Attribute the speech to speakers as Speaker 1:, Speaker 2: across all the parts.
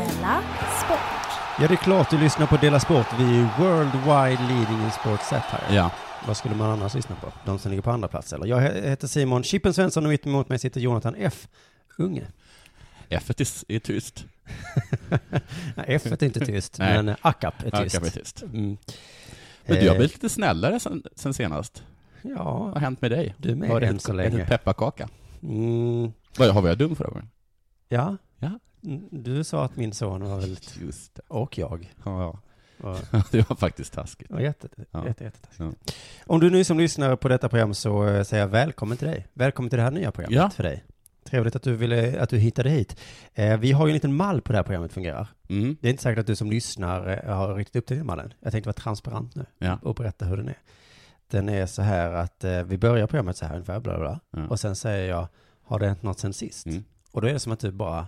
Speaker 1: Della Sport.
Speaker 2: Ja, det är klart du lyssnar på Dela Sport. Vi är ju worldwide leading in sports satire.
Speaker 3: Ja.
Speaker 2: Vad skulle man annars lyssna på? De som ligger på andra plats eller? Jag he- heter Simon Chippen Svensson och mitt emot mig sitter Jonathan F. Unge.
Speaker 3: F är tyst. Är tyst.
Speaker 2: Nej, F är inte tyst,
Speaker 3: Nej.
Speaker 2: men eh, ACAP är
Speaker 3: Ja,
Speaker 2: tyst.
Speaker 3: kanske är tyst.
Speaker 2: Mm.
Speaker 3: Men du har
Speaker 2: Eh,
Speaker 3: blivit lite snällare sen, sen senast. Vad har
Speaker 2: Ja,
Speaker 3: hänt med dig?
Speaker 2: du med
Speaker 3: Har du
Speaker 2: än
Speaker 3: ätit-
Speaker 2: så länge.
Speaker 3: ätit pepparkaka?
Speaker 2: Mm,
Speaker 3: Vad, har jag dum förra gången?
Speaker 2: ja.
Speaker 3: Ja.
Speaker 2: Mm, Du sa att min son var väl,
Speaker 3: Just det.
Speaker 2: och jag,
Speaker 3: Ja,
Speaker 2: var
Speaker 3: ja. det var faktiskt taskigt.
Speaker 2: Ja, jätte,
Speaker 3: Ja.
Speaker 2: jätte, jättetaskigt.
Speaker 3: Ja.
Speaker 2: Om du nu som lyssnar på detta program så eh, säger jag välkommen till dig. Välkommen till det här nya programmet
Speaker 3: Ja.
Speaker 2: för dig. Trevligt att du, ville, att du hittade hit. Eh, vi har ju en liten mall på det här programmet fungerar.
Speaker 3: Mm.
Speaker 2: Det är inte säkert att du som lyssnar eh, har riktigt upptäckt den mallen. Jag tänkte vara transparent nu
Speaker 3: Ja.
Speaker 2: och berätta hur den är. Den är så här att eh, vi börjar programmet så här ungefär, bla bla, bla.
Speaker 3: Ja.
Speaker 2: Och sen säger jag, har det hänt något sen sist?
Speaker 3: Mm.
Speaker 2: Och då är det som att du bara,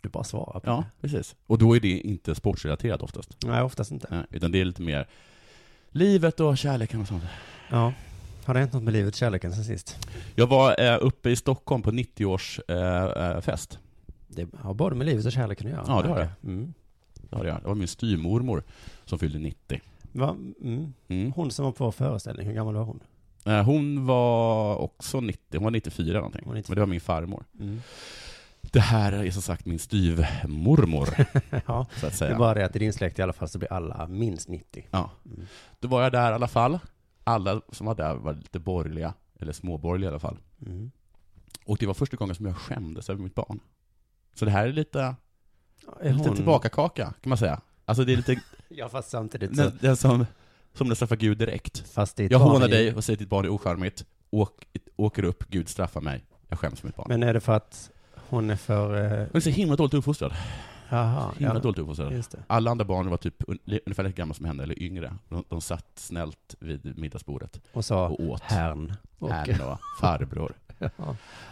Speaker 2: du bara svarar på
Speaker 3: ja, precis. Och då är det inte sportsrelaterat oftast.
Speaker 2: det. Nej, oftast inte.
Speaker 3: Nej, Utan det är lite mer livet och kärleken och sånt.
Speaker 2: Ja. Har det hänt något med livet, kärleken sen sist?
Speaker 3: Jag var eh, uppe i Stockholm på eh, 90-årsfest.
Speaker 2: Det har både med livet och kärleken att göra.
Speaker 3: Ja, det har
Speaker 2: Mm.
Speaker 3: Ja, det, är han. det var min styrmormor som fyllde 90.
Speaker 2: Va? Mm.
Speaker 3: Mm.
Speaker 2: Hon som var på vår föreställning, hur gammal var hon?
Speaker 3: Eh, Hon var också 90, hon var 94 någonting.
Speaker 2: Hon var 94.
Speaker 3: Men det var min farmor.
Speaker 2: Mm.
Speaker 3: Det här är som sagt min styvmormor,
Speaker 2: Ja,
Speaker 3: så att
Speaker 2: det
Speaker 3: säga.
Speaker 2: är bara det att i din släkt i alla fall så blir alla minst 90.
Speaker 3: Ja.
Speaker 2: Mm.
Speaker 3: Då var jag där i alla fall. Alla som var där var lite borgerliga, eller småborgerliga i alla fall.
Speaker 2: Mm.
Speaker 3: Och det var första gången som jag skämdes över mitt barn. Så det här är lite,
Speaker 2: Är
Speaker 3: lite
Speaker 2: hon-
Speaker 3: tillbakakaka, kan man säga. Alltså det är lite,
Speaker 2: Ja, fast samtidigt så...
Speaker 3: den, den som, som den straffar Gud direkt.
Speaker 2: Fast ditt
Speaker 3: Jag
Speaker 2: barn
Speaker 3: hånar
Speaker 2: är-
Speaker 3: dig och säger till ditt barn är ocharmigt. Åk, åker upp, Gud straffar mig. Jag skäms för mitt barn.
Speaker 2: Men är det för att hon är för... eh,
Speaker 3: Hon är så himla dåligt uppfostrad.
Speaker 2: Jaha.
Speaker 3: Himla
Speaker 2: ja.
Speaker 3: dåligt uppfostrad.
Speaker 2: Just det.
Speaker 3: Alla andra barn var typ un- ungefär lika gamla som henne, eller yngre. De, de satt snällt vid middagsbordet
Speaker 2: Och sa
Speaker 3: och åt.
Speaker 2: herrn. Och,
Speaker 3: Herrn och farbror,
Speaker 2: Ja.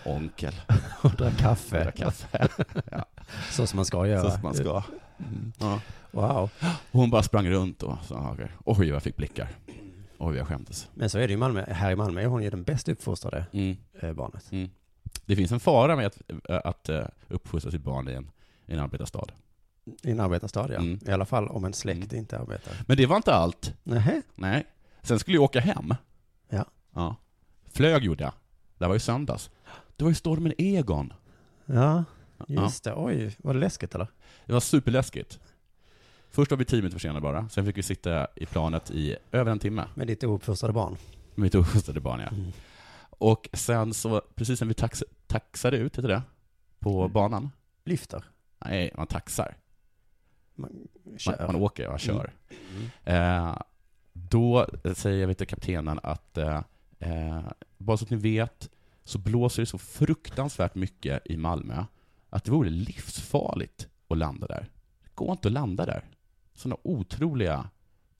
Speaker 3: onkel,
Speaker 2: och drack kaffe.
Speaker 3: drack kaffe.
Speaker 2: Så som man ska göra.
Speaker 3: Så som man ska.
Speaker 2: Mm.
Speaker 3: Ja.
Speaker 2: Wow.
Speaker 3: Och Hon bara sprang runt och sa saker. Oj, vad jag fick blickar. Oj, vad jag skämdes.
Speaker 2: Men så är det ju i Malmö. Här i Malmö är hon ju den bäst uppfostrade
Speaker 3: Mm.
Speaker 2: eh, barnet.
Speaker 3: Mm. Det finns en fara med att, att eh, uppfostra sitt barn i en, i en arbetarstad.
Speaker 2: I en arbetarstad, ja.
Speaker 3: Mm.
Speaker 2: I alla fall om en släkt
Speaker 3: Mm.
Speaker 2: inte arbetar.
Speaker 3: Men det var inte allt.
Speaker 2: Nähä.
Speaker 3: Nej. Sen skulle jag åka hem.
Speaker 2: Ja.
Speaker 3: ja. Flög gjorde jag. Det var ju söndags. Det var ju stormen Egon.
Speaker 2: Ja,
Speaker 3: Ja.
Speaker 2: just det. Oj, var det läskigt eller?
Speaker 3: Det var superläskigt. Först var vi tio minuter försenade bara, sen fick vi sitta i planet i över en timme
Speaker 2: Med ditt ouppfostrade barn.
Speaker 3: med mitt oskjutsade barn. Ja.
Speaker 2: Mm.
Speaker 3: Och sen så, precis när vi tax, taxade ut, heter det, på
Speaker 2: Mm.
Speaker 3: banan.
Speaker 2: Lyfter.
Speaker 3: Nej, man taxar.
Speaker 2: Man
Speaker 3: Man,
Speaker 2: kör. Mm.
Speaker 3: man åker, man kör. Eh, då säger vi till kaptenen att eh, eh, bara så att ni vet så blåser det så fruktansvärt mycket i Malmö att det vore livsfarligt att landa där. Det går inte att landa där. Sådana otroliga...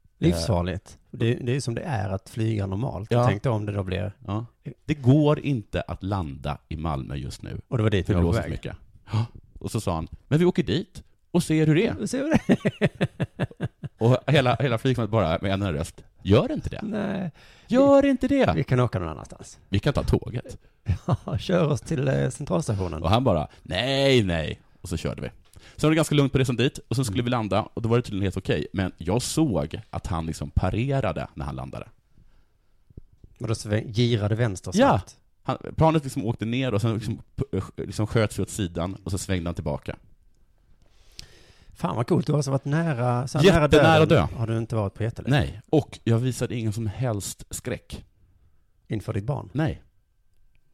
Speaker 3: eh,
Speaker 2: Livsfarligt. Det, det är ju som det är att flyga normalt.
Speaker 3: Ja.
Speaker 2: Tänk då om det då blir...
Speaker 3: Ja. Det går inte att landa i Malmö just nu.
Speaker 2: Och det var dit
Speaker 3: För
Speaker 2: vi
Speaker 3: det
Speaker 2: var på
Speaker 3: blåser så
Speaker 2: väg.
Speaker 3: mycket. Ja. Och så sa han, men vi åker dit och ser hur det är.
Speaker 2: Ser du det?
Speaker 3: Och hela, hela flygplanet bara med en enda röst, gör inte det.
Speaker 2: Nej.
Speaker 3: Gör inte
Speaker 2: Vi
Speaker 3: det.
Speaker 2: kan åka någon annanstans.
Speaker 3: Vi kan ta tåget.
Speaker 2: Ja, kör oss till eh, centralstationen.
Speaker 3: Och han bara, nej, nej. Och så körde vi. Sen var det ganska lugnt på resan dit, och sen
Speaker 2: Mm.
Speaker 3: skulle vi landa, och då var det tydligen helt okej. Men jag såg att han liksom parerade när han landade.
Speaker 2: Och då sväng, girade vänster
Speaker 3: Ja.
Speaker 2: snabbt.
Speaker 3: Han, planet liksom åkte ner och sen liksom, p- liksom sköts åt sidan, och så svängde han tillbaka.
Speaker 2: Fan vad coolt, du har alltså varit nära, så här nära
Speaker 3: Jättenära
Speaker 2: döden.
Speaker 3: dö.
Speaker 2: Har du inte varit på jättelänge?
Speaker 3: Nej. Och jag visade ingen som helst skräck.
Speaker 2: Inför ditt barn?
Speaker 3: Nej.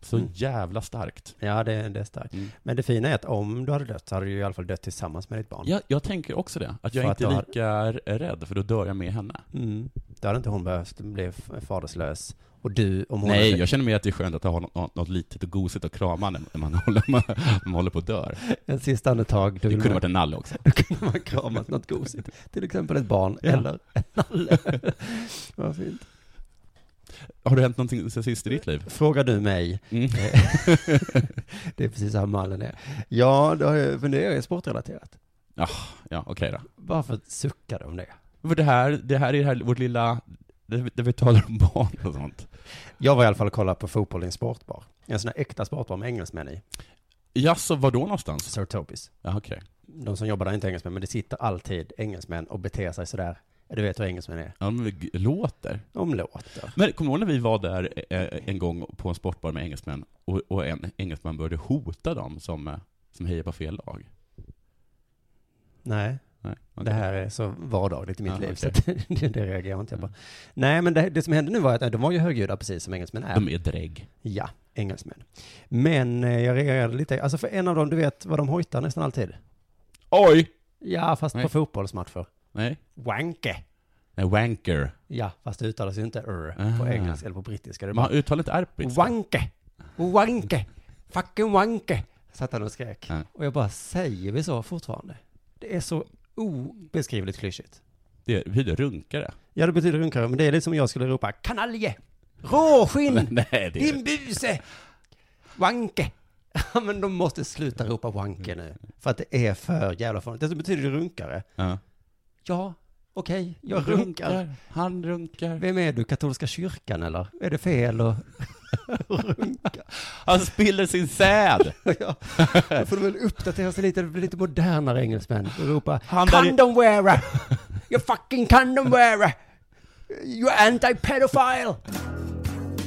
Speaker 3: Så
Speaker 2: Mm.
Speaker 3: jävla starkt.
Speaker 2: Ja, det, det är starkt.
Speaker 3: Mm.
Speaker 2: Men det fina är att om du hade dött så hade du i alla fall dött tillsammans med ditt barn.
Speaker 3: Jag, jag tänker också det, att jag
Speaker 2: För
Speaker 3: inte
Speaker 2: att
Speaker 3: är
Speaker 2: jag har-
Speaker 3: lika r- rädd, för då dör jag med henne.
Speaker 2: Mm. Då hade inte hon behövt bli f- faderslös. Och du, om hon
Speaker 3: Nej,
Speaker 2: hade...
Speaker 3: jag känner mer att det är skönt att ha något, något litet och gosigt att krama när när man håller, man, man håller på att dö.
Speaker 2: En sista andetag, då
Speaker 3: Det
Speaker 2: vill
Speaker 3: kunde
Speaker 2: man,
Speaker 3: varit en nalle också.
Speaker 2: då kunde man kramat något gosigt. Till exempel ett barn
Speaker 3: Ja.
Speaker 2: eller en nalle. Vad fint.
Speaker 3: Har det hänt någonting sen sist i ditt liv?
Speaker 2: Frågar du mig,
Speaker 3: Mm.
Speaker 2: det är precis så här mallen är. Ja, det har jag, men det är sportrelaterat.
Speaker 3: Ja, okej
Speaker 2: Varför suckar du om det?
Speaker 3: då. För det här, det här är det här, vårt lilla, där vi, där vi talar om barn och sånt.
Speaker 2: Jag var i alla fall och kollade på fotboll i en sportbar. En sån här äkta sportbar med engelsmän i.
Speaker 3: Jaså, var då någonstans?
Speaker 2: Sir Tobis.
Speaker 3: Ja, okej.
Speaker 2: de som jobbar där är inte engelsmän, men det sitter alltid engelsmän och beter sig sådär. Du vet hur engelsmän är.
Speaker 3: Ja, men g- låter.
Speaker 2: De låter.
Speaker 3: Men kommer du ihåg när vi var där eh, en gång på en sportbar med engelsmän och, och en engelsman började hota dem som, eh, som hejar på fel lag?
Speaker 2: Nej,
Speaker 3: Nej, okej.
Speaker 2: det här är så vardagligt i mitt
Speaker 3: Ja,
Speaker 2: liv,
Speaker 3: okej. Mm.
Speaker 2: så att det, det reagerar jag inte jag bara. Nej, men det, det som hände nu var att äh, de var ju högljudda precis som engelsmän är.
Speaker 3: De är drägg.
Speaker 2: Ja, engelsmän. Men eh, jag reagerade lite, alltså för en av dem, du vet vad de hojtar nästan alltid?
Speaker 3: Oj!
Speaker 2: Ja, fast
Speaker 3: Nej.
Speaker 2: på fotbollsmatcher.
Speaker 3: Nej.
Speaker 2: Wanke.
Speaker 3: Nej, wanker.
Speaker 2: Ja, fast det uttalas ju inte r på
Speaker 3: Ah.
Speaker 2: engelska eller på brittiska. Det är
Speaker 3: Man har uttalat R på brittiska.
Speaker 2: Wanke! Wanke! Fucking wanke! Satt han och skrek.
Speaker 3: Ja.
Speaker 2: Och jag bara, säger vi så fortfarande? Det är så obeskrivligt klyschigt.
Speaker 3: Det betyder runkare.
Speaker 2: Ja, det betyder runkare, men det är lite som om jag skulle ropa kanalje! Råskinn!
Speaker 3: Nej, det är...
Speaker 2: Din buse! Wanke! Ja, men de måste sluta ropa wanke nu. För att det är för jävla fånigt. Dessutom betyder det runkare.
Speaker 3: Ja.
Speaker 2: Ja, okej, jag runkar.
Speaker 3: Han runkar.
Speaker 2: Vem är du, katolska kyrkan eller? Är det fel att runka?
Speaker 3: Han spiller sin säd!
Speaker 2: Ja, då får de väl uppdatera sig lite, bli lite modernare engelsmän och ropa
Speaker 3: Han där är-
Speaker 2: condom wearer! You fucking condom wearer! You anti-pedophile!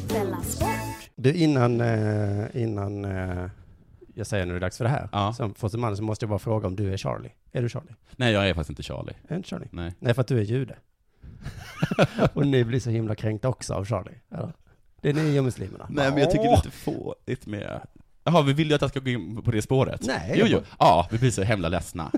Speaker 1: Della Sport.
Speaker 2: Du, innan, eh, innan eh, jag säger när det är dags för det här,
Speaker 3: Ja.
Speaker 2: som första man så måste jag bara fråga om du är Charlie. Är du Charlie?
Speaker 3: Nej, jag är faktiskt inte Charlie.
Speaker 2: Är du inte Charlie?
Speaker 3: Nej.
Speaker 2: Nej, för att du är jude. och ni blir så himla kränkta också av Charlie. Eller? Det är ni och muslimerna.
Speaker 3: Nej, men jag tycker det är lite fånigt med... Jaha, vi vill ju att han ska gå in på det spåret.
Speaker 2: Nej,
Speaker 3: Jo,
Speaker 2: jag
Speaker 3: jo. Ja, vi blir så himla ledsna.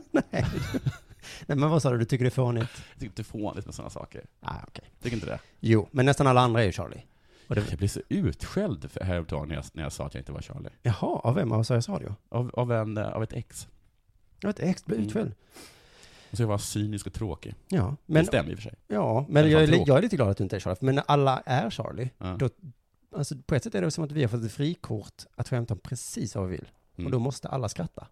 Speaker 2: Nej, men vad sa du? Du tycker det är fånigt?
Speaker 3: Jag tycker det är fånigt med sådana saker.
Speaker 2: Ah, okej.
Speaker 3: Tycker inte det?
Speaker 2: Jo, men nästan alla andra är ju Charlie. Och det-
Speaker 3: Jag blev så utskälld för- häromdagen när jag, när jag sa att jag inte var Charlie.
Speaker 2: Jaha, av vem? Av Sveriges Radio?
Speaker 3: Av, av, en, eh, av ett ex.
Speaker 2: Jag vet, ex blev
Speaker 3: Mm.
Speaker 2: utskälld.
Speaker 3: Och så jag var cynisk och tråkig.
Speaker 2: Ja,
Speaker 3: Men,
Speaker 2: men,
Speaker 3: det stämmer i och för sig.
Speaker 2: ja,
Speaker 3: Det
Speaker 2: men
Speaker 3: är
Speaker 2: jag,
Speaker 3: fan
Speaker 2: är, li-
Speaker 3: tråkigt.
Speaker 2: jag är lite glad att du inte är Charlie, för- men när alla är Charlie,
Speaker 3: Ja.
Speaker 2: då, alltså på ett sätt är det som att vi har fått ett frikort att skämta om precis vad vi vill.
Speaker 3: Mm.
Speaker 2: Och då måste alla skratta.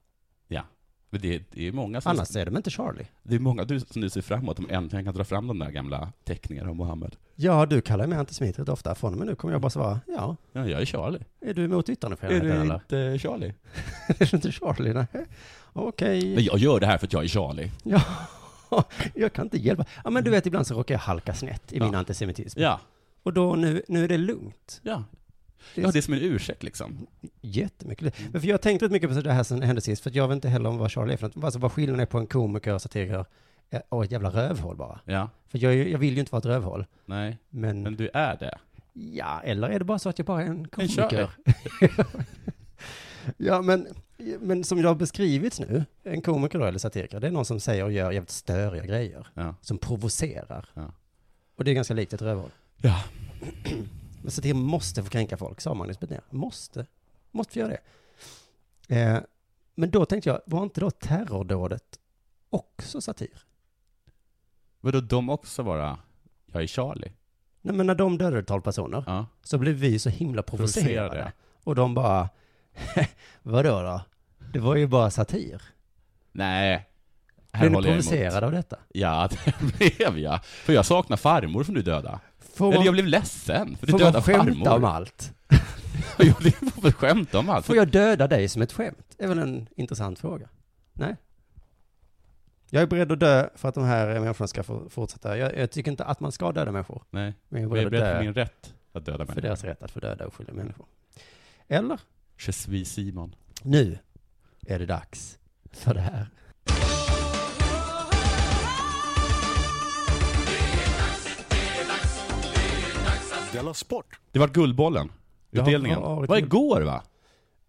Speaker 3: Men det, det är många som...
Speaker 2: Annars är de inte Charlie.
Speaker 3: Det är många du, som nu ser fram emot, om äntligen kan dra fram de där gamla teckningarna om Mohammed.
Speaker 2: Ja, du kallar mig antisemit rätt ofta. Från och med nu kommer jag bara svara, ja,
Speaker 3: Ja, jag är Charlie.
Speaker 2: är du emot
Speaker 3: Är
Speaker 2: yttrandefriheten
Speaker 3: du
Speaker 2: eller?
Speaker 3: inte Charlie?
Speaker 2: är du inte Charlie? Nej. Okej.
Speaker 3: Men jag gör det här för att jag är Charlie.
Speaker 2: Ja. Jag kan inte hjälpa. Ja, men du vet, ibland så råkar jag halka snett i min
Speaker 3: Mm. Ja.
Speaker 2: antisemitism.
Speaker 3: Ja,
Speaker 2: Och då, nu, nu är det lugnt.
Speaker 3: ja.
Speaker 2: Det är
Speaker 3: Ja, det är som en ursäkt liksom.
Speaker 2: Jättemycket. Men för jag har tänkt rätt mycket på det här sen hände sist, för att jag vet inte heller om vad Charlie är för något. Alltså vad skillnaden är på en komiker, satiriker eh, och ett jävla rövhål bara.
Speaker 3: Ja,
Speaker 2: För jag, är ju- jag vill ju inte vara ett rövhål.
Speaker 3: nej.
Speaker 2: Men
Speaker 3: Men du är det.
Speaker 2: ja, eller är det bara så att jag bara är en
Speaker 3: Charlie.
Speaker 2: komiker? ja, men, men som det har beskrivits nu, en komiker då, eller satiriker, det är någon som säger och gör jävligt störiga grejer.
Speaker 3: Ja.
Speaker 2: Som provocerar.
Speaker 3: Ja.
Speaker 2: Och det är ganska likt ett rövhål.
Speaker 3: Ja.
Speaker 2: Men satir måste få kränka folk, sa Magnus Betnér. Måste. Måste få göra det. Eh, men då tänkte jag, var inte då terrordådet också satir?
Speaker 3: Vadå, de också bara, jag är Charlie?
Speaker 2: Nej, men när de dödade 12 personer
Speaker 3: Ja.
Speaker 2: så blev vi så himla provocerade.
Speaker 3: Provocerade.
Speaker 2: Och de bara, vadå då? Det var ju bara satir.
Speaker 3: Nej. Här
Speaker 2: Blev ni
Speaker 3: håller jag emot.
Speaker 2: provocerade av detta?
Speaker 3: Ja, det blev jag. För jag saknar farmor som du dödade.
Speaker 2: Får
Speaker 3: Eller jag
Speaker 2: man,
Speaker 3: blev ledsen, för du
Speaker 2: får man
Speaker 3: dödade
Speaker 2: skämta om
Speaker 3: farmor.
Speaker 2: allt?
Speaker 3: Jo, det var väl skämt om allt.
Speaker 2: Får jag döda dig som ett skämt? är väl en intressant fråga. Nej. Jag är beredd att dö för att de här människorna ska få fortsätta. Jag, jag tycker inte att man ska döda människor.
Speaker 3: Nej,
Speaker 2: Men jag är
Speaker 3: jag är
Speaker 2: beredd
Speaker 3: beredd för
Speaker 2: att
Speaker 3: min
Speaker 2: dö
Speaker 3: rätt att döda
Speaker 2: för
Speaker 3: människor.
Speaker 2: deras rätt att få döda oskyldiga människor. Eller,
Speaker 3: Je suis Simon.
Speaker 2: nu är det dags för det här.
Speaker 4: Della Sport!
Speaker 3: Det var Guldbollen,
Speaker 2: Det har
Speaker 3: utdelningen.
Speaker 2: varit-
Speaker 3: var igår va?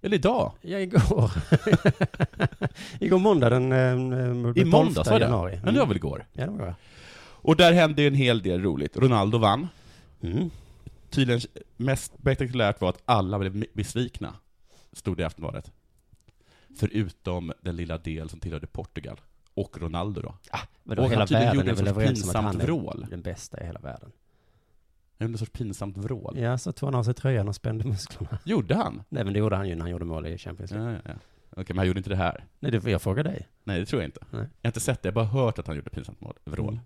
Speaker 3: Eller idag?
Speaker 2: Ja, igår. igår måndag den... eh,
Speaker 3: I
Speaker 2: den
Speaker 3: måndags
Speaker 2: 12
Speaker 3: var det?
Speaker 2: Januari. Mm.
Speaker 3: Men det var väl igår?
Speaker 2: Ja, det var jag.
Speaker 3: Och där hände ju en hel del roligt. Ronaldo vann.
Speaker 2: Mm.
Speaker 3: Tydligen mest spektakulärt var att alla blev besvikna, stod det i Aftonbladet. Förutom den lilla del som tillhörde Portugal. Och Ronaldo då.
Speaker 2: Ah, Vadå,
Speaker 3: Och
Speaker 2: hela
Speaker 3: han tydligen
Speaker 2: världen
Speaker 3: gjorde
Speaker 2: är
Speaker 3: en
Speaker 2: väl
Speaker 3: sorts
Speaker 2: överens om att han
Speaker 3: pinsamt
Speaker 2: är
Speaker 3: vrål.
Speaker 2: den bästa i hela världen.
Speaker 3: Han gjorde en sorts pinsamt vrål.
Speaker 2: Ja, så tog han av sig tröjan och spände musklerna.
Speaker 3: Gjorde han?
Speaker 2: Nej, men det gjorde han ju när han gjorde mål i Champions League.
Speaker 3: Ja, ja, ja. Okej, men han gjorde inte det här.
Speaker 2: Nej, det, jag frågar dig.
Speaker 3: Nej, det tror jag inte.
Speaker 2: Nej.
Speaker 3: Jag har inte sett det, jag har bara hört att han gjorde pinsamt mål, vrål.
Speaker 2: Mm.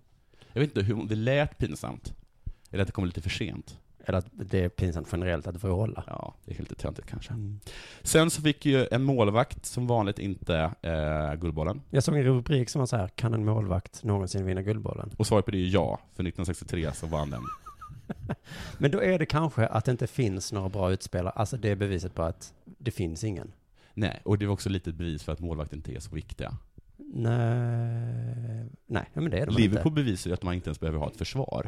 Speaker 3: Jag vet inte hur, om det lät pinsamt. Eller att det kom lite för sent.
Speaker 2: Eller att det är pinsamt generellt att vråla.
Speaker 3: Ja, det är lite töntigt kanske.
Speaker 2: Mm.
Speaker 3: Sen så fick ju en målvakt som vanligt inte eh, Guldbollen.
Speaker 2: Jag såg en rubrik som var så här, kan en målvakt någonsin vinna Guldbollen?
Speaker 3: Och svaret på det är ju ja, för 1963 så vann den.
Speaker 2: Men då är det kanske att det inte finns några bra utspelare. Alltså det är beviset på att det finns ingen.
Speaker 3: Nej, och det var också lite ett bevis för att målvakter inte är så viktiga.
Speaker 2: Nej, nej men det är de väl
Speaker 3: Liverpool bevisar ju att man inte ens behöver ha ett försvar.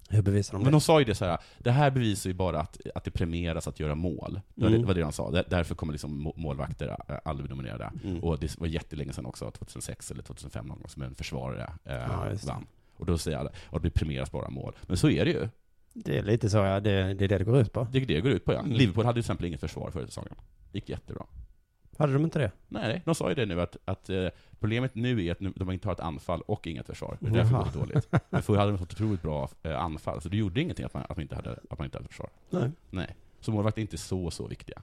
Speaker 2: inte. Hur bevisar de
Speaker 3: Men
Speaker 2: det?
Speaker 3: de sa ju det så här, det här bevisar ju bara att, att det premieras att göra mål. Det var,
Speaker 2: Mm.
Speaker 3: det, var det de sa. Där- Därför kommer liksom må- målvakter eh, aldrig bli nominerade.
Speaker 2: Mm.
Speaker 3: Och det var jättelänge sedan också, 2006 eller 2005 någon gång, som en försvarare eh,
Speaker 2: Ja, just det.
Speaker 3: vann. Och då säger alla, och det premieras bara mål. Men så är det ju.
Speaker 2: Det är lite så, ja, det, det är det det går ut på.
Speaker 3: Det är det det går ut på ja.
Speaker 2: Mm.
Speaker 3: Liverpool hade ju till exempel inget försvar förra säsongen. gick jättebra.
Speaker 2: Hade de inte det?
Speaker 3: Nej, nej, de sa ju det nu att, att eh, problemet nu är att nu, de inte har ett anfall och inget försvar. Det är därför
Speaker 2: Jaha.
Speaker 3: går det dåligt. Men förr hade de ett otroligt bra eh, anfall, så det gjorde ingenting att man, att man, inte, hade, att man inte hade försvar.
Speaker 2: Nej.
Speaker 3: Nej. Så målvakter är inte så, så viktiga.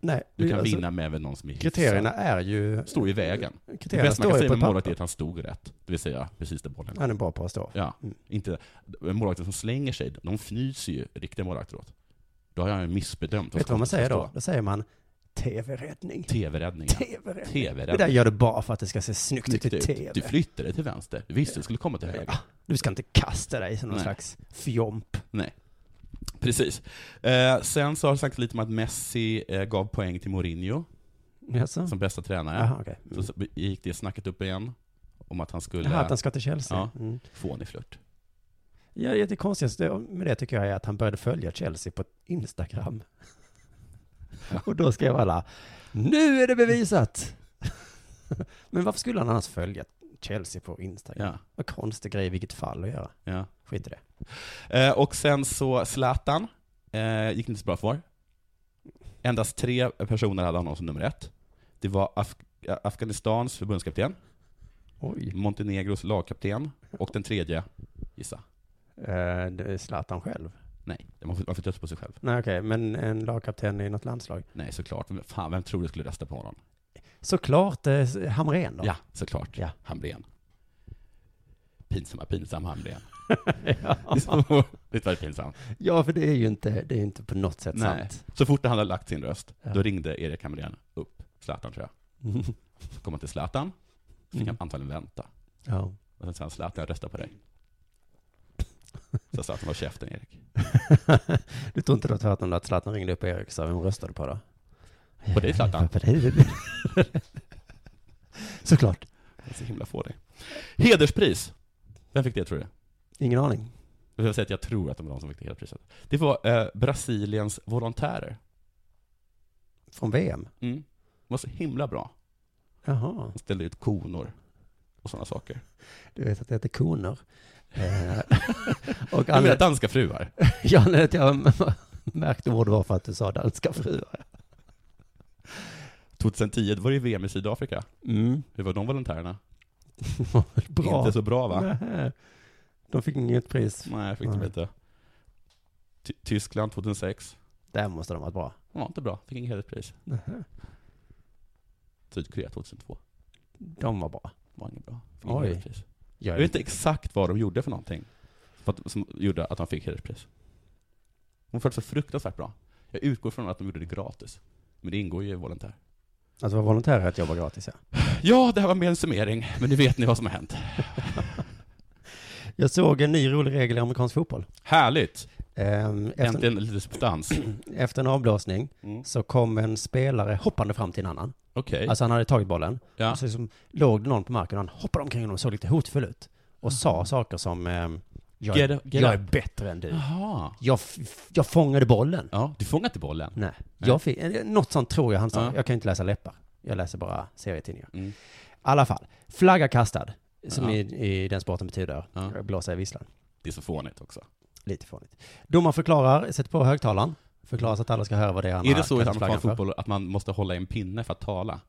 Speaker 2: Nej.
Speaker 3: Du kan
Speaker 2: alltså,
Speaker 3: vinna med även någon som är hyfsad.
Speaker 2: Kriterierna är ju...
Speaker 3: Står i vägen. Det
Speaker 2: Kriterierna
Speaker 3: bästa man kan
Speaker 2: står ju
Speaker 3: säga
Speaker 2: på
Speaker 3: med målvakt är
Speaker 2: papper.
Speaker 3: att han stod rätt, det vill säga precis där bollen går.
Speaker 2: Han är bra på att stå.
Speaker 3: Ja,
Speaker 2: Mm.
Speaker 3: inte målvakter som slänger sig, de fnyser ju riktiga målvakter åt. Då har jag ju missbedömt.
Speaker 2: Vet du vad man säger då?
Speaker 3: stå.
Speaker 2: Då säger man TV-räddning.
Speaker 3: TV-räddningar.
Speaker 2: TV-räddning.
Speaker 3: TV-räddningar.
Speaker 2: Det där gör du bara för att det ska se snyggt ut
Speaker 3: Snyggt
Speaker 2: i
Speaker 3: ut. typ. Du
Speaker 2: TV.
Speaker 3: flyttade dig till vänster. Du visste att du skulle komma till höger.
Speaker 2: Ja, Du ska inte kasta dig som någon
Speaker 3: Nej.
Speaker 2: slags fjomp.
Speaker 3: Precis. Eh, sen så har det sagts lite om att Messi eh, gav poäng till Mourinho
Speaker 2: Jaså?
Speaker 3: som bästa tränare.
Speaker 2: Mm. Jaha, okej. Mm.
Speaker 3: Så, så gick det snacket upp igen om att han skulle
Speaker 2: Jaha, att han ska till Chelsea?
Speaker 3: Ja.
Speaker 2: Ja. Mm.
Speaker 3: få en i flört.
Speaker 2: ja det- det konstigaste med det tycker jag är att han började följa Chelsea på Instagram. Och då skrev alla, nu är det bevisat! Men varför skulle han annars följa Chelsea på Instagram?
Speaker 3: Ja,
Speaker 2: Vad konstig grej i vilket fall att göra.
Speaker 3: ja.
Speaker 2: Skit i det.
Speaker 3: Eh, och sen så Zlatan, eh, gick inte så bra för. Endast tre personer hade honom som nummer ett. Det var Af Afghanistans förbundskapten,
Speaker 2: Oj.
Speaker 3: Montenegros lagkapten och den tredje, gissa.
Speaker 2: Eh, det är Zlatan själv?
Speaker 3: Nej, man får, man får trösta på sig själv.
Speaker 2: Nej okej, men en lagkapten i något landslag?
Speaker 3: Nej, såklart. Men Fan, vem tror du skulle rösta på honom?
Speaker 2: Såklart eh, Hamrén då.
Speaker 3: Ja, såklart.
Speaker 2: Ja.
Speaker 3: Hamrén. Pinsamma, pinsam Hamrén.
Speaker 2: Ja.
Speaker 3: Visst var det pinsamt?
Speaker 2: Liksom. Ja, för det är ju inte, det är ju inte på något sätt sant.
Speaker 3: Så fort han hade lagt sin röst,
Speaker 2: Ja.
Speaker 3: då ringde Erik Hamrén upp Zlatan tror jag. Så kom han till Zlatan, så fick
Speaker 2: Mm.
Speaker 3: han antagligen vänta.
Speaker 2: Ja.
Speaker 3: Och sen sa han Zlatan, jag röstar på dig. Så Zlatan var käften Erik.
Speaker 2: du tror inte du har hört om det att Zlatan ringde upp Erik och sa, vem röstade du på då?
Speaker 3: På dig, Zlatan.
Speaker 2: På dig. Såklart.
Speaker 3: Jag är så himla få dig. Hederspris. Vem fick det tror du?
Speaker 2: Ingen aning.
Speaker 3: Jag vill säga att jag tror att de var de som fick det hederspriset. Det var eh, Brasiliens volontärer.
Speaker 2: Från VM?
Speaker 3: Mm. De var så himla bra.
Speaker 2: Jaha.
Speaker 3: De ställde ut konor och sådana saker.
Speaker 2: Du vet att det heter koner. Eh, och
Speaker 3: Jag menar
Speaker 2: anledningen
Speaker 3: danska fruar.
Speaker 2: ja, anledningen till att jag märkte ord var för att du sa danska fruar.
Speaker 3: 2010, då var det ju VM i Sydafrika.
Speaker 2: Mm.
Speaker 3: Hur var de volontärerna?
Speaker 2: Bra.
Speaker 3: Inte så bra va? Nej,
Speaker 2: Nej. De fick inget pris.
Speaker 3: fick de
Speaker 2: Nej.
Speaker 3: inte. Ty- Tyskland 2006.
Speaker 2: Där måste de ha varit bra.
Speaker 3: De var inte bra, fick inget hederspris. Sydkorea 2002.
Speaker 2: De var bra.
Speaker 3: Var inget bra. Fick inget
Speaker 2: Oj.
Speaker 3: hederspris.
Speaker 2: Jag
Speaker 3: Jag vet inte exakt vad de gjorde för någonting. För att, som gjorde att de fick hederspris. De var så fruktansvärt bra. Jag utgår från att de gjorde det gratis. Men det ingår ju i volontär.
Speaker 2: Att vara Alltså, volontär är att jobba gratis, ja.
Speaker 3: Ja, det här var mer en summering, men nu vet ni vad som har hänt.
Speaker 2: Jag såg en ny rolig regel i amerikansk fotboll.
Speaker 3: Härligt!
Speaker 2: Ehm, Efter,
Speaker 3: Äntligen lite substans.
Speaker 2: efter en avblåsning
Speaker 3: Mm.
Speaker 2: så kom en spelare hoppande fram till en annan.
Speaker 3: Okej.
Speaker 2: Alltså han hade tagit bollen.
Speaker 3: Ja.
Speaker 2: Och så liksom låg det någon på marken och han hoppade omkring och såg lite hotfull ut. Och sa saker som ehm, jag,
Speaker 3: Get up, get
Speaker 2: jag är
Speaker 3: up."
Speaker 2: bättre än du.
Speaker 3: Jaha.
Speaker 2: Jag, f- jag fångade bollen.
Speaker 3: Ja, du fångar inte bollen.
Speaker 2: Nej. Jag fick, eh, något sånt tror jag han sa.
Speaker 3: Ja.
Speaker 2: Jag kan ju inte läsa läppar. Jag läser bara serietidningar. I
Speaker 3: Mm.
Speaker 2: alla fall. Flagga kastad. Som
Speaker 3: Ja.
Speaker 2: i, i den sporten betyder
Speaker 3: Ja.
Speaker 2: blåsa i visslan.
Speaker 3: Det är så fånigt också.
Speaker 2: Lite fånigt. Domaren förklarar, sätter på högtalaren. Förklarar så att alla ska höra vad det är han
Speaker 3: är
Speaker 2: har
Speaker 3: det så i
Speaker 2: kastat flaggan
Speaker 3: amerikansk
Speaker 2: för.
Speaker 3: fotboll att man måste hålla i en pinne för att tala?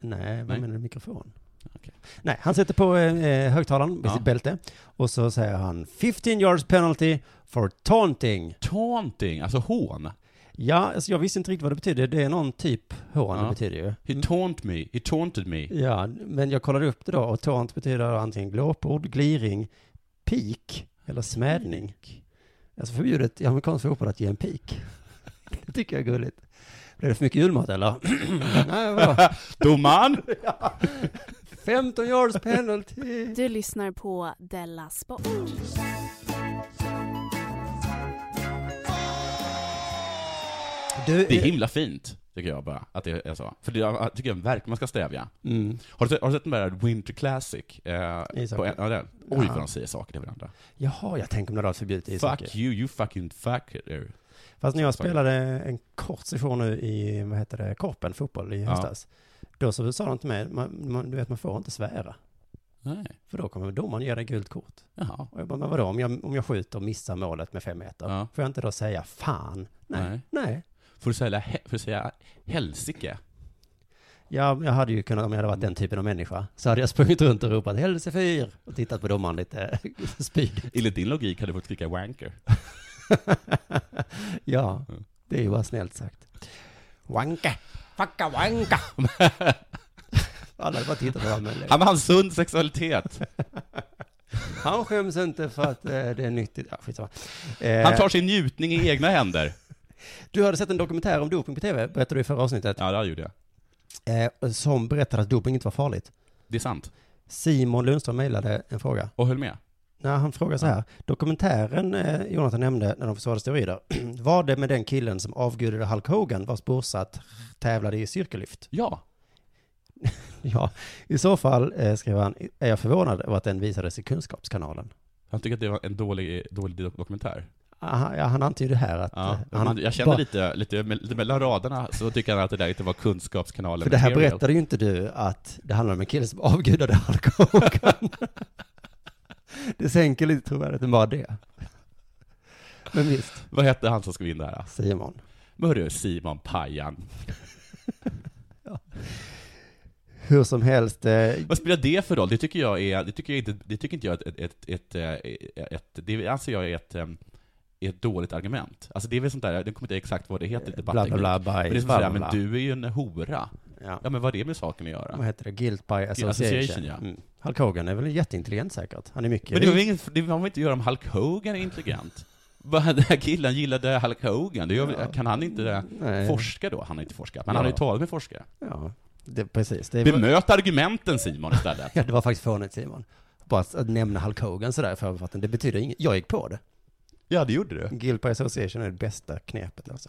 Speaker 2: Nej, vad
Speaker 3: Nej.
Speaker 2: menar du mikrofon?
Speaker 3: Okej.
Speaker 2: Nej, han sätter på eh, högtalaren med
Speaker 3: Ja.
Speaker 2: sitt bälte och så säger han 15 yards penalty for taunting.
Speaker 3: Taunting, alltså hån.
Speaker 2: Ja, alltså jag visste inte riktigt vad det betyder. Det är någon typ hån det
Speaker 3: Ja.
Speaker 2: betyder ju.
Speaker 3: He taunt me, he taunted me.
Speaker 2: Ja, men jag kollade upp det då och taunt betyder antingen glåpord, gliring, pik eller smädning. Alltså förbjudet i amerikansk fotboll att ge en pik. Det tycker jag är gulligt. Blev det för mycket julmat eller? Nej, vadå?
Speaker 3: Domaren!
Speaker 2: 15 yards penalty.
Speaker 1: Du lyssnar på Della Sport.
Speaker 2: Du,
Speaker 3: Det är himla fint, tycker jag bara, att det är så. För det jag tycker jag verkligen man ska stävja.
Speaker 2: Mm.
Speaker 3: Har du, sett- har du sett den där Winter Classic? Eh,
Speaker 2: Ishockey.
Speaker 3: på en, ja, den. Oj,
Speaker 2: Ja.
Speaker 3: vad de säger saker till varandra.
Speaker 2: Jaha, jag tänker om det hade varit förbjudet i ishockey.
Speaker 3: Fuck you, you fucking fucker.
Speaker 2: Fast när jag
Speaker 3: Sorry.
Speaker 2: spelade en kort session nu i, vad heter det, korpen, fotboll i
Speaker 3: Ja.
Speaker 2: höstas. Då så sa de till mig, man, man, du vet man får inte svära.
Speaker 3: Nej.
Speaker 2: För då kommer domaren ge dig gult kort.
Speaker 3: Jaha.
Speaker 2: Och jag bara, men vadå, om jag, om jag skjuter och missar målet med fem meter,
Speaker 3: Ja.
Speaker 2: får jag inte då säga fan? Nej. Nej.
Speaker 3: Nej. Får du säga, he- får du säga helsike?
Speaker 2: Jag, jag hade ju kunnat, om jag hade varit den typen av människa, så hade jag sprungit runt och ropat helsefyr och tittat på domaren lite spyd.
Speaker 3: Enligt din logik hade du fått klicka wanker.
Speaker 2: ja,
Speaker 3: Mm.
Speaker 2: det är ju bara snällt sagt. Wanka, fucka wanka. Alla hade bara tittat på honom.
Speaker 3: Han har en sund sexualitet.
Speaker 2: Han skäms inte för att eh, det är nyttigt. Ja, skitsamma. Eh,
Speaker 3: Han tar sin njutning i egna händer.
Speaker 2: Du hade sett en dokumentär om doping på tv, berättade du i förra avsnittet,
Speaker 3: Ja, det gjorde jag.
Speaker 2: eh, som berättade att doping inte var farligt.
Speaker 3: Det är sant.
Speaker 2: Simon Lundström mejlade en fråga.
Speaker 3: Och höll med.
Speaker 2: Nej, han frågar så här. Dokumentären eh, Jonathan nämnde när de försvarade steroider, var det med den killen som avgudade Hulk Hogan vars brorsa t- tävlade i cirkellyft?
Speaker 3: Ja.
Speaker 2: Ja, i så fall, eh, skrev han, är jag förvånad över att den visades i Kunskapskanalen.
Speaker 3: Han tycker att det var en dålig, dålig do- dokumentär.
Speaker 2: Aha, Ah, ja, han antyder här att...
Speaker 3: Ja.
Speaker 2: eh,
Speaker 3: Han, jag känner
Speaker 2: bara-
Speaker 3: lite, lite, me- lite mellan raderna så tycker han att det där inte var kunskapskanalen.
Speaker 2: För det här
Speaker 3: material.
Speaker 2: berättade ju inte du att det handlar om en kille som avgudade Hulk Hogan. det sänker lite trovärdigheten bara det. Men visst,
Speaker 3: Vad hette han som skulle in där?
Speaker 2: Simon.
Speaker 3: Men hörru, Simon Pajan.
Speaker 2: Hur som helst, eh,
Speaker 3: Vad spelar det för roll? Det tycker jag är, det tycker jag inte, det tycker inte jag är ett, ett, ett, eh, ett det anser jag är ett, eh, ett dåligt argument. Alltså det är väl sånt där, jag kommer inte ihåg exakt vad det heter,
Speaker 2: Eh, bla bla bla,
Speaker 3: Men
Speaker 2: bajs,
Speaker 3: det är
Speaker 2: bla bla
Speaker 3: sådär, men
Speaker 2: bla.
Speaker 3: du är ju en hora.
Speaker 2: Ja.
Speaker 3: Ja men vad har det med saken att göra?
Speaker 2: Vad heter det? Guilt by association.
Speaker 3: association, ja.
Speaker 2: mm. Hulk Hogan är väl jätteintelligent säkert. Han är mycket
Speaker 3: Men det har
Speaker 2: rik.
Speaker 3: väl inget, det har väl inte att göra om Hulk Hogan är intelligent? Vad, den här killen gillade Hulk Hogan, det gör, väl- kan han inte
Speaker 2: Nej.
Speaker 3: forska då? Han har inte forskat, men
Speaker 2: Ja.
Speaker 3: han har ju talat med forskare.
Speaker 2: Ja, det, precis. Det, var,
Speaker 3: Bemöt argumenten Simon istället.
Speaker 2: ja, det var faktiskt fånigt Simon. Bara att, att nämna Hulk Hogan sådär i förbifarten, det betyder inget. Jag gick på det.
Speaker 3: Ja, det gjorde du.
Speaker 2: Guilt by association är det bästa knepet alltså.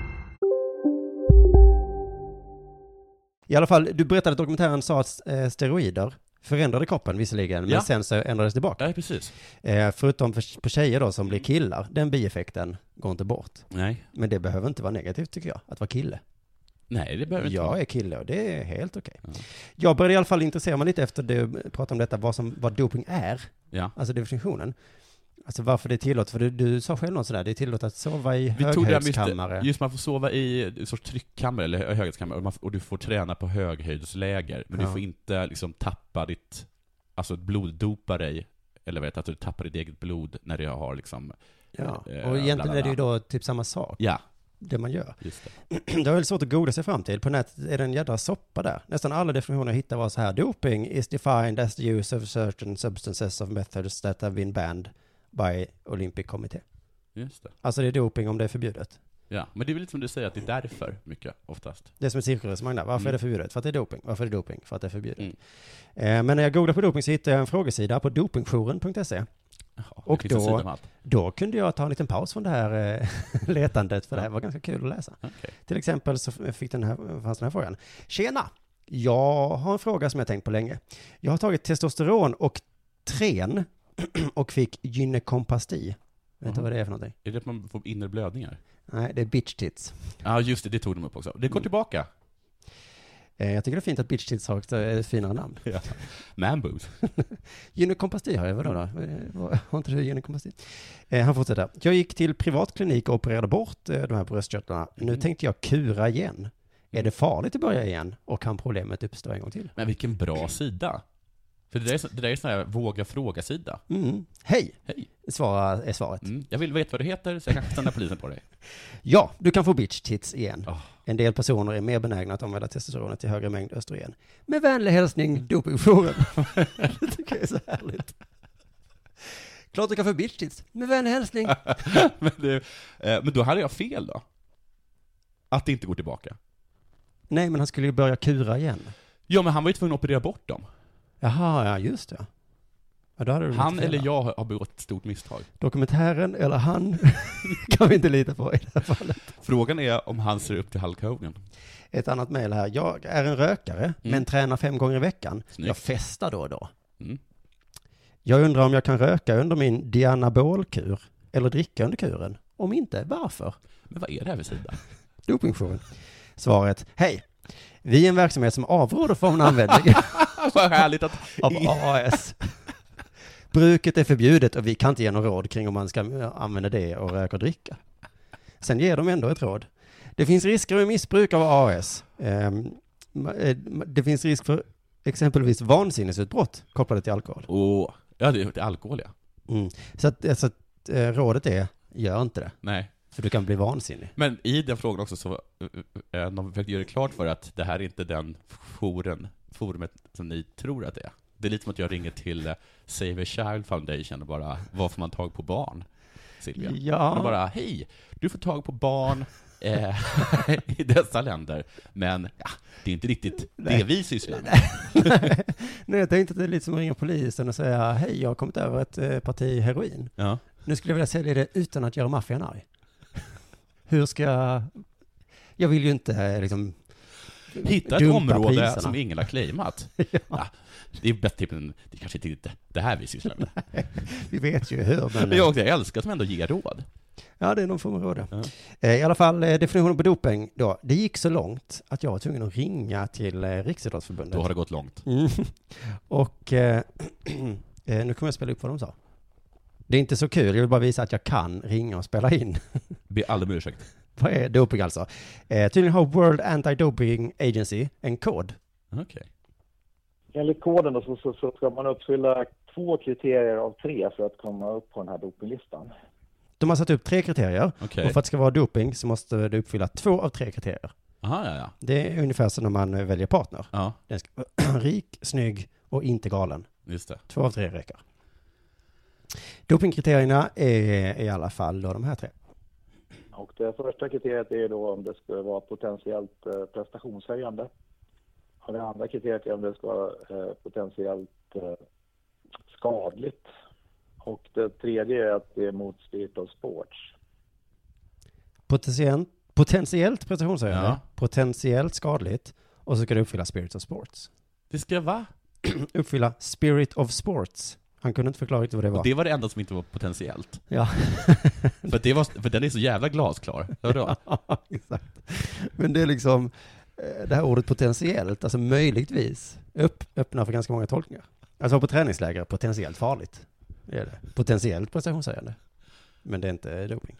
Speaker 2: I alla fall, du berättade att dokumentären sa att eh, steroider förändrade kroppen visserligen, men
Speaker 3: Ja.
Speaker 2: sen så ändrades tillbaka.
Speaker 3: Ja, precis.
Speaker 2: Eh, förutom för, på tjejer då som blir killar, den bieffekten går inte bort.
Speaker 3: Nej.
Speaker 2: Men det behöver inte vara negativt tycker jag, att vara kille.
Speaker 3: Nej, det behöver inte
Speaker 2: jag
Speaker 3: vara.
Speaker 2: är kille och det är helt okej. Jag började i alla fall intressera mig lite efter du pratade om detta, vad, som, vad doping är.
Speaker 3: Ja.
Speaker 2: Alltså definitionen. Alltså varför det är tillåtet, för du, du sa själv något sådär, det är tillåtet att sova i
Speaker 3: Vi tog det här med
Speaker 2: höghöjdskammare.
Speaker 3: just, just man får sova i en sorts tryckkammare eller hö- höghöjdskammare och, man, f- och du får träna på höghöjdsläger. Men
Speaker 2: Ja.
Speaker 3: du får inte liksom tappa ditt, alltså bloddopa dig, eller vet att du tappar ditt eget blod när du har liksom
Speaker 2: Ja,
Speaker 3: eh,
Speaker 2: och
Speaker 3: bla,
Speaker 2: egentligen
Speaker 3: bla,
Speaker 2: är det ju
Speaker 3: bla.
Speaker 2: då typ samma sak.
Speaker 3: Ja.
Speaker 2: Det man gör.
Speaker 3: Just det.
Speaker 2: det var väl svårt att googla sig fram till. På nätet är det en jädra soppa där. Nästan alla definitioner jag hittade var så här. Doping is defined as the use of certain substances of methods that have been banned by Olympic Committee.
Speaker 3: Just det.
Speaker 2: Alltså det är doping om det är förbjudet.
Speaker 3: Ja, men det är väl lite som du säger att det är därför, mycket, oftast.
Speaker 2: Det är som ett cirkelresonemang där. Varför
Speaker 3: Mm.
Speaker 2: är det förbjudet? För att det är doping. Varför är det doping? För att det är förbjudet. Eh, men när jag googlade på doping så hittade jag en frågesida på dopingjouren.se. Och
Speaker 3: finns en sida med
Speaker 2: då,
Speaker 3: allt.
Speaker 2: då kunde jag ta en liten paus från det här eh, letandet, för det här var ganska kul att läsa. Till exempel så fick den här, fanns den här frågan. Tjena! Jag har en fråga som jag tänkt på länge. Jag har tagit testosteron och tren och fick gynekompasti. Vet du
Speaker 3: Jaha.
Speaker 2: vad det är för någonting?
Speaker 3: Är det att man får inre blödningar?
Speaker 2: Nej, det är bitch tits.
Speaker 3: Ja, just det, det tog de upp också. Det går tillbaka.
Speaker 2: Eh, Jag tycker det är fint att bitch tits har ett eh, finare namn.
Speaker 3: Ja. Man boobs.
Speaker 2: Gynekompasti har jag, vadå då? Eh, vad- Har inte du gynekompasti? Eh, han fortsätter. Jag gick till privatklinik och opererade bort eh, de här bröstkörtlarna. Nu tänkte jag kura igen. Är det farligt att börja igen? Och kan problemet uppstå en gång till?
Speaker 3: Men vilken bra sida. För det där är, så- det där är sån här våga fråga-sida.
Speaker 2: Mm. Hej!
Speaker 3: Hej.
Speaker 2: Svara, är svaret.
Speaker 3: Mm, Jag vill veta vad du heter, så jag kan stanna polisen på dig.
Speaker 2: Ja, du kan få bitch tits igen. En del personer är mer benägna att använda testosteronet till högre mängd östrogen. Med vänlig hälsning, Dopingjouren. det tycker jag är så härligt. Klart du kan få bitch tits. Med vänlig hälsning.
Speaker 3: men, det, eh, men då hade jag fel då? Att det inte går tillbaka?
Speaker 2: Nej, men han skulle ju börja kura igen.
Speaker 3: Ja, men han var ju tvungen att operera bort dem.
Speaker 2: Jaha, ja just det. Ja, då hade du
Speaker 3: Han
Speaker 2: lite fel
Speaker 3: eller
Speaker 2: där.
Speaker 3: jag har har begått ett stort misstag.
Speaker 2: Dokumentären eller han kan vi inte lita på i det här fallet.
Speaker 3: Frågan är om han ser upp till Hulk Hogan.
Speaker 2: Ett annat mejl här. Jag är en rökare, men tränar fem gånger i veckan. Jag festar då och då.
Speaker 3: Mm.
Speaker 2: Jag undrar om jag kan röka under min dianabolkur eller dricka under kuren. Om inte, varför?
Speaker 3: Men vad är det här för sida?
Speaker 2: Dopingjouren. Svaret, hej. Vi är en verksamhet som avråder från användning
Speaker 3: Alltså, vad härligt att...
Speaker 2: av AAS. Bruket är förbjudet och vi kan inte ge någon råd kring om man ska eh, använda det och röka och dricka. Sen ger de ändå ett råd. Det finns risker med missbruk av AS. Ehm, ma- eh, ma- Det finns risk för exempelvis vansinnesutbrott kopplade till alkohol.
Speaker 3: Åh, ja det är till alkohol ja.
Speaker 2: Mm. Så, att, eh, så att eh, rådet är, gör inte det.
Speaker 3: Nej.
Speaker 2: För du kan bli vansinnig.
Speaker 3: Men i den frågan också så, eh, eh, de försökte göra det klart för att det här är inte den jouren, forumet som ni tror att det är. Det är lite som att jag ringer till eh, Save a Child Foundation och bara, var får man tag på barn? Silvia.
Speaker 2: Ja.
Speaker 3: Och bara, hej, du får tag på barn eh, i dessa länder, men ja, det är inte riktigt
Speaker 2: Nej.
Speaker 3: det vi sysslar med.
Speaker 2: Nej, jag tänkte att det är lite som att ringa polisen och säga, hej, jag har kommit över ett eh, parti heroin.
Speaker 3: Ja.
Speaker 2: Nu skulle jag vilja sälja det utan att göra maffian arg. Hur ska jag... Jag vill ju inte eh, liksom...
Speaker 3: Hitta ett
Speaker 2: dumpa
Speaker 3: område
Speaker 2: priserna.
Speaker 3: som ingen har claimat. ja, det är bättre typ än, det kanske inte är det- det här vi sysslar med.
Speaker 2: Vi vet ju hur, men...
Speaker 3: Men jag, jag älskar att de ändå ger råd.
Speaker 2: Ja, det är någon form av råd. ja. Eh, I alla fall, eh, definitionen på doping då. Det gick så långt att jag var tvungen att ringa till eh, Riksidrottsförbundet.
Speaker 3: Då har det gått långt.
Speaker 2: Mm. Och eh, eh, nu kommer jag spela upp vad de sa. Det är inte så kul, jag vill bara visa att jag kan ringa och spela in.
Speaker 3: Be aldrig om ursäkt.
Speaker 2: Vad är doping alltså? Eh, tydligen har World Anti-Doping Agency en kod.
Speaker 3: Okej.
Speaker 5: Enligt koden då så, så, så ska man uppfylla två kriterier av tre för att komma upp på den här dopinglistan.
Speaker 2: De har satt upp tre kriterier.
Speaker 3: Okej.
Speaker 2: Och för att det ska vara doping så måste du uppfylla två av tre kriterier.
Speaker 3: Aha, ja, ja.
Speaker 2: Det är ungefär som när man eh, väljer partner.
Speaker 3: Ja.
Speaker 2: Den ska vara rik, snygg och inte galen.
Speaker 3: Just det.
Speaker 2: Två av tre räcker. Dopingkriterierna är i alla fall då de här tre.
Speaker 5: Och det första kriteriet är då om det ska vara potentiellt eh, prestationshöjande. Och det andra kriteriet är om det ska vara eh, potentiellt eh, skadligt. Och det tredje är att det är motstyrt av sports.
Speaker 2: Potentiellt, potentiellt prestationshöjande,
Speaker 3: Ja.
Speaker 2: potentiellt skadligt Och så ska det uppfylla Spirit of Sports.
Speaker 3: Det ska va?
Speaker 2: uppfylla Spirit of Sports. Han kunde inte förklara riktigt vad det var.
Speaker 3: Och det var det enda som inte var potentiellt.
Speaker 2: Ja.
Speaker 3: för, det var, för den är så jävla glasklar. Hörde
Speaker 2: ja, exakt. Men det är liksom, eh, det här ordet potentiellt, alltså möjligtvis, upp, öppnar för ganska många tolkningar. Alltså på träningsläger, potentiellt farligt. Det är det. Potentiellt prestationshöjande. Men det är inte doping.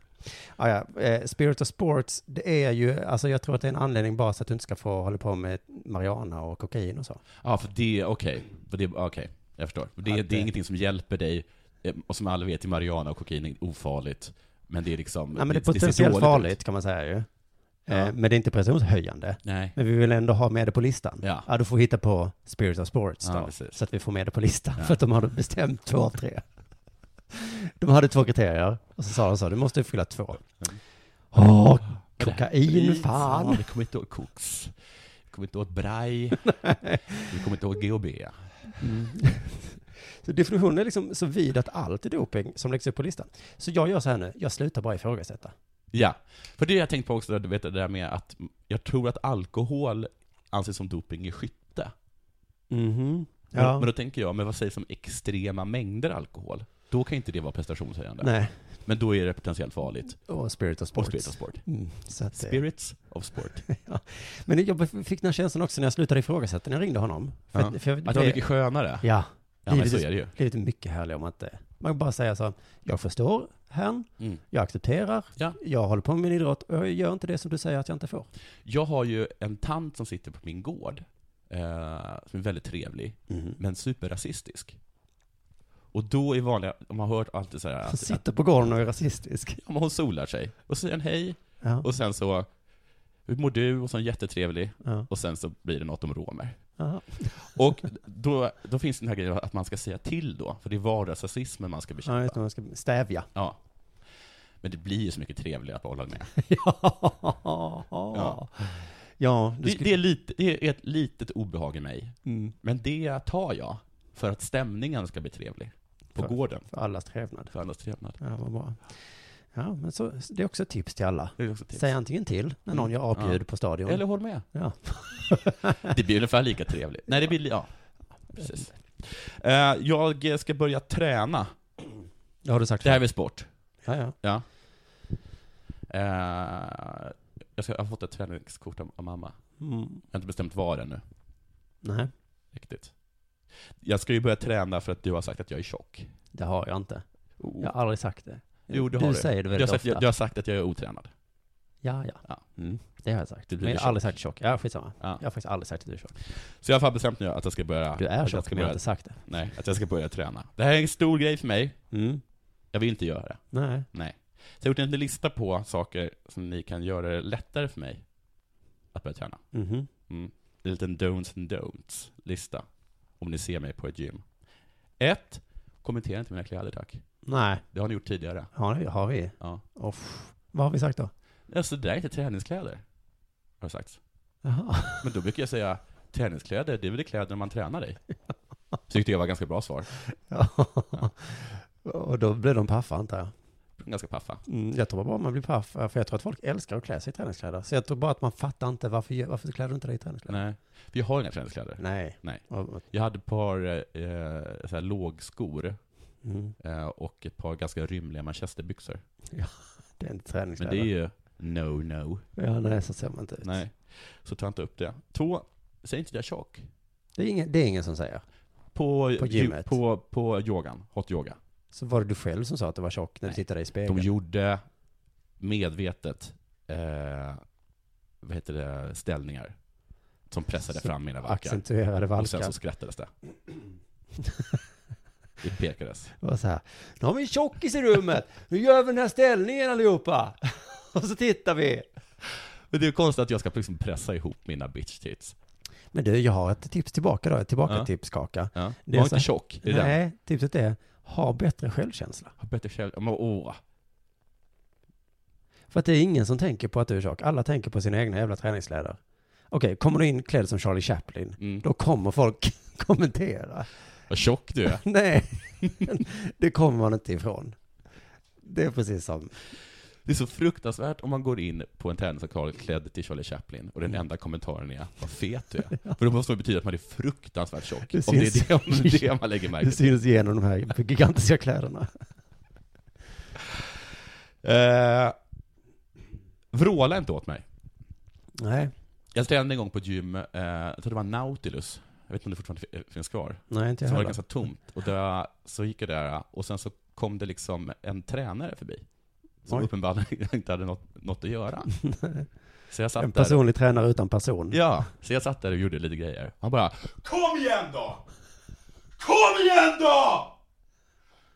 Speaker 2: Ah, ja. eh, Spirit of Sports, det är ju, alltså jag tror att det är en anledning bara så att du inte ska få hålla på med marijuana och kokain och så.
Speaker 3: Ja, för det, okej. För det, okej. Jag förstår. För Det,
Speaker 2: Att,
Speaker 3: det är
Speaker 2: eh,
Speaker 3: ingenting som hjälper dig, eh, och som alla vet, i marijuana och kokain är ofarligt. Men det är liksom...
Speaker 2: Nej men det är
Speaker 3: ser dåligt
Speaker 2: potentiellt
Speaker 3: ut.
Speaker 2: farligt kan man säga ju. Eh, Men det är inte prestationshöjande.
Speaker 3: Nej.
Speaker 2: Men vi vill ändå ha med det på listan.
Speaker 3: Ja.
Speaker 2: du får hitta på Spirit of Sports
Speaker 3: Ja,
Speaker 2: då.
Speaker 3: precis.
Speaker 2: så att vi får med det på listan.
Speaker 3: Ja.
Speaker 2: För att de hade bestämt två av tre. De hade två kriterier. Och så sa de så, du måste uppfylla två. Åh, kokain, fan.
Speaker 3: Vi kommer inte åt koks. Vi kommer inte åt braj. vi kommer inte åt GHB.
Speaker 2: Så definitionen är liksom så vid att allt är doping som läggs upp på listan. Så jag gör så här nu, jag slutar bara ifrågasätta.
Speaker 3: Ja, för det har jag tänkt på också, du vet det där med att jag tror att alkohol anses som doping i skytte.
Speaker 2: Mhm.
Speaker 3: Men-
Speaker 2: Ja.
Speaker 3: Men då tänker jag, men vad sägs om extrema mängder alkohol? Då kan inte det vara prestationshöjande.
Speaker 2: Nej.
Speaker 3: Men då är det potentiellt farligt.
Speaker 2: Och Spirit of Sports.
Speaker 3: Och Spirit of Sport.
Speaker 2: Mm, så att det-
Speaker 3: Spirits of Sport.
Speaker 2: ja. Men jag fick den här känslan också när jag slutade ifrågasätta, när jag ringde honom.
Speaker 3: Ja. Att det var mycket skönare.
Speaker 2: Ja.
Speaker 3: Ja, men
Speaker 2: Livet
Speaker 3: så är det ju.
Speaker 2: Livet är mycket härligare om man inte... Man bara säger så, jag förstår herrn,
Speaker 3: Mm.
Speaker 2: jag accepterar, jag håller på med min idrott och jag gör inte det som du säger att jag inte får.
Speaker 3: Jag har ju en tant som sitter på min gård, eh, som är väldigt trevlig,
Speaker 2: Mhm.
Speaker 3: men superrasistisk. Och då är vanliga, de har hört alltid så här
Speaker 2: Hon
Speaker 3: att,
Speaker 2: sitter på gården och är rasistisk.
Speaker 3: Ja, men hon solar sig. Och så säger han hej.
Speaker 2: Ja.
Speaker 3: Och sen så, hur mår du? Och så är han jättetrevlig.
Speaker 2: Ja.
Speaker 3: Och sen så blir det något om romer.
Speaker 2: Aha.
Speaker 3: Och då, då finns den här grejen att man ska säga till då, för det är vardagsrasismen man ska bekämpa.
Speaker 2: Ja, just det, man ska stävja.
Speaker 3: Ja. Men det blir ju så mycket trevligare på Åland med.
Speaker 2: ja. Ja, du
Speaker 3: det,
Speaker 2: skulle-
Speaker 3: det, är lite, det är ett litet obehag i mig.
Speaker 2: Mm.
Speaker 3: Men det tar jag för att stämningen ska bli trevlig. På
Speaker 2: För-
Speaker 3: gården.
Speaker 2: För allas trevnad.
Speaker 3: För allas trevnad.
Speaker 2: Ja, vad bra. Ja, men så, det är också ett tips till alla.
Speaker 3: Det är också ett tips. Mm.
Speaker 2: Säg antingen till när någon gör apljud
Speaker 3: Ja.
Speaker 2: på stadion.
Speaker 3: Eller håll med.
Speaker 2: Ja.
Speaker 3: Det blir ungefär lika trevligt. Nej, det blir... li- Ja. Precis. Eh, Jag ska börja träna.
Speaker 2: Det har du sagt
Speaker 3: Det här är väl sport?
Speaker 2: Ja, ja.
Speaker 3: Ja. Eh, Jag, ska, jag har fått ett träningskort av, av mamma.
Speaker 2: Mm.
Speaker 3: Jag har inte bestämt var ännu.
Speaker 2: Nej.
Speaker 3: Riktigt. Jag ska ju börja träna för att du har sagt att jag är tjock.
Speaker 2: Det har jag inte.
Speaker 3: Oh.
Speaker 2: Jag har aldrig sagt det.
Speaker 3: Jo, det
Speaker 2: du
Speaker 3: har du.
Speaker 2: säger det
Speaker 3: du har
Speaker 2: väldigt
Speaker 3: sagt,
Speaker 2: ofta.
Speaker 3: Du har sagt att jag är otränad.
Speaker 2: Ja, ja. Mm. Det har jag sagt.
Speaker 3: Du blir
Speaker 2: Men jag
Speaker 3: tjock.
Speaker 2: har aldrig sagt tjock. Ja, skitsamma.
Speaker 3: Ja.
Speaker 2: Jag har faktiskt aldrig sagt att du är tjock.
Speaker 3: Så jag har fan bestämt nu att jag ska börja...
Speaker 2: Du är
Speaker 3: att jag
Speaker 2: tjock,
Speaker 3: ska
Speaker 2: men jag har
Speaker 3: börja-
Speaker 2: inte sagt det.
Speaker 3: Nej, att jag ska börja träna. Det här är en stor grej för mig.
Speaker 2: Mm.
Speaker 3: Jag vill inte göra det.
Speaker 2: Nej.
Speaker 3: Nej. Så jag har gjort en lista på saker som ni kan göra det lättare för mig att börja träna.
Speaker 2: Mhm.
Speaker 3: Mm. Det är En liten don'ts and don'ts-lista. Om ni ser mig på ett gym. Ett, Kommentera inte mina kläder tack.
Speaker 2: Nej.
Speaker 3: Det har ni gjort tidigare.
Speaker 2: Har, vi- har vi?
Speaker 3: Ja.
Speaker 2: Off. Vad har vi sagt då?
Speaker 3: Alltså det där är inte träningskläder. Har det sagts.
Speaker 2: Jaha.
Speaker 3: Men då brukar jag säga, träningskläder, det är väl det kläder man tränar i? Tyckte jag var ganska bra svar.
Speaker 2: Och då blir de paffa antar jag.
Speaker 3: Ganska paffa.
Speaker 2: Mm, jag tror bara man blir paff, för jag tror att folk älskar att klä sig i träningskläder. Så jag tror bara att man fattar inte varför, gör- varför klär du inte dig i träningskläder?
Speaker 3: Nej. För jag har inga träningskläder.
Speaker 2: Nej.
Speaker 3: Nej.
Speaker 2: Och-
Speaker 3: Jag hade ett par eh, så här lågskor
Speaker 2: Mm.
Speaker 3: eh, och ett par ganska rymliga manchesterbyxor.
Speaker 2: Ja, det är inte
Speaker 3: Men
Speaker 2: träningskläder.
Speaker 3: det är ju no, no.
Speaker 2: Ja, nej, så ser man inte ut.
Speaker 3: Nej. Så ta inte upp det. Två, säg inte att jag är tjock.
Speaker 2: Det är, ingen, det är ingen som säger.
Speaker 3: På,
Speaker 2: På gymmet.
Speaker 3: På, på yogan, hot yoga.
Speaker 2: Så var det du själv som sa att du var tjock när du tittade i spegeln?
Speaker 3: De gjorde medvetet, eh, vad heter det, ställningar. Som pressade
Speaker 2: Som
Speaker 3: fram mina valkar.
Speaker 2: accentuerade valkar.
Speaker 3: Och sen så skrattades det. Det pekades.
Speaker 2: Det var så här, nu har vi en tjockis i rummet, nu gör vi den här ställningen allihopa! Och så tittar vi!
Speaker 3: Men det är ju konstigt att jag ska liksom pressa ihop mina bitch tits.
Speaker 2: Men du, jag har ett tips tillbaka då, ett tillbaka
Speaker 3: Ja.
Speaker 2: tips Kaka.
Speaker 3: Ja.
Speaker 2: Det är
Speaker 3: Var
Speaker 2: så
Speaker 3: inte
Speaker 2: här-
Speaker 3: tjock, det är den.
Speaker 2: Nej, tipset är, ha bättre självkänsla.
Speaker 3: Har bättre själv... Men åh.
Speaker 2: För att det är ingen som tänker på att du är tjock, alla tänker på sina egna jävla träningskläder. Okej, kommer du in klädd som Charlie Chaplin, då kommer folk kommentera.
Speaker 3: Mm. Vad tjock du är.
Speaker 2: Nej, det kommer man inte ifrån. Det är precis som
Speaker 3: Det är så fruktansvärt om man går in på en träningslokal klädd till Charlie Chaplin och
Speaker 2: Mm.
Speaker 3: den enda kommentaren är ”Vad fet du är”. För det måste betyda att man är fruktansvärt tjock,
Speaker 2: Det
Speaker 3: om det
Speaker 2: syns-
Speaker 3: är det, om det är det man lägger märke
Speaker 2: Det syns genom de här gigantiska kläderna.
Speaker 3: Eh, vråla inte åt mig.
Speaker 2: Nej.
Speaker 3: Jag tränade en gång på ett gym, eh, jag tror det var Nautilus. Jag vet inte om det fortfarande fi- eh, finns kvar.
Speaker 2: Nej, inte jag
Speaker 3: Som var
Speaker 2: heller.
Speaker 3: ganska tomt. Och där, så gick jag där och sen så kom det liksom en tränare förbi. Som
Speaker 2: Oj.
Speaker 3: uppenbarligen inte hade något, något att göra. Så jag satt
Speaker 2: En
Speaker 3: där-
Speaker 2: personlig tränare utan person.
Speaker 3: Ja, så jag satt där och gjorde lite grejer. Han bara
Speaker 6: Kom igen då! Kom igen då!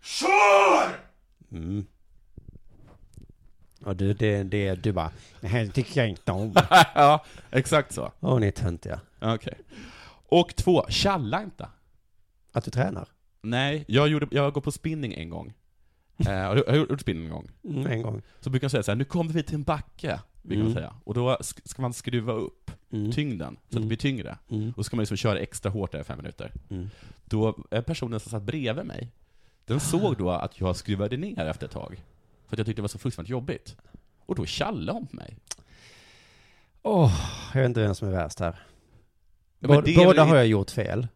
Speaker 6: Kör!
Speaker 2: Mm. Och du, det, det, du bara, det här tycker jag inte om.
Speaker 3: ja, exakt så.
Speaker 2: Åh, ni är töntiga.
Speaker 3: Okej. Och två, tjalla inte.
Speaker 2: Att du tränar?
Speaker 3: Nej, jag, gjorde, jag går på spinning en gång. Eh, har du- har du gjort spinning en gång?
Speaker 2: Mm, en gång.
Speaker 3: Så brukar jag säga så här, nu kommer vi till en backe, brukar man
Speaker 2: Mm.
Speaker 3: säga. Och då sk- ska man skruva upp tyngden, så att det blir tyngre.
Speaker 2: Mm.
Speaker 3: Och så ska man liksom köra extra hårt där i fem minuter.
Speaker 2: Mm.
Speaker 3: Då, eh, personen som satt bredvid mig, den såg då att jag skruvade ner efter ett tag. För att jag tyckte det var så fruktansvärt jobbigt. Och då tjallade hon på mig.
Speaker 2: Åh, jag vet inte vem som är värst här.
Speaker 3: Ja, men
Speaker 2: Bå-
Speaker 3: det är
Speaker 2: Båda
Speaker 3: väl-
Speaker 2: har jag gjort fel.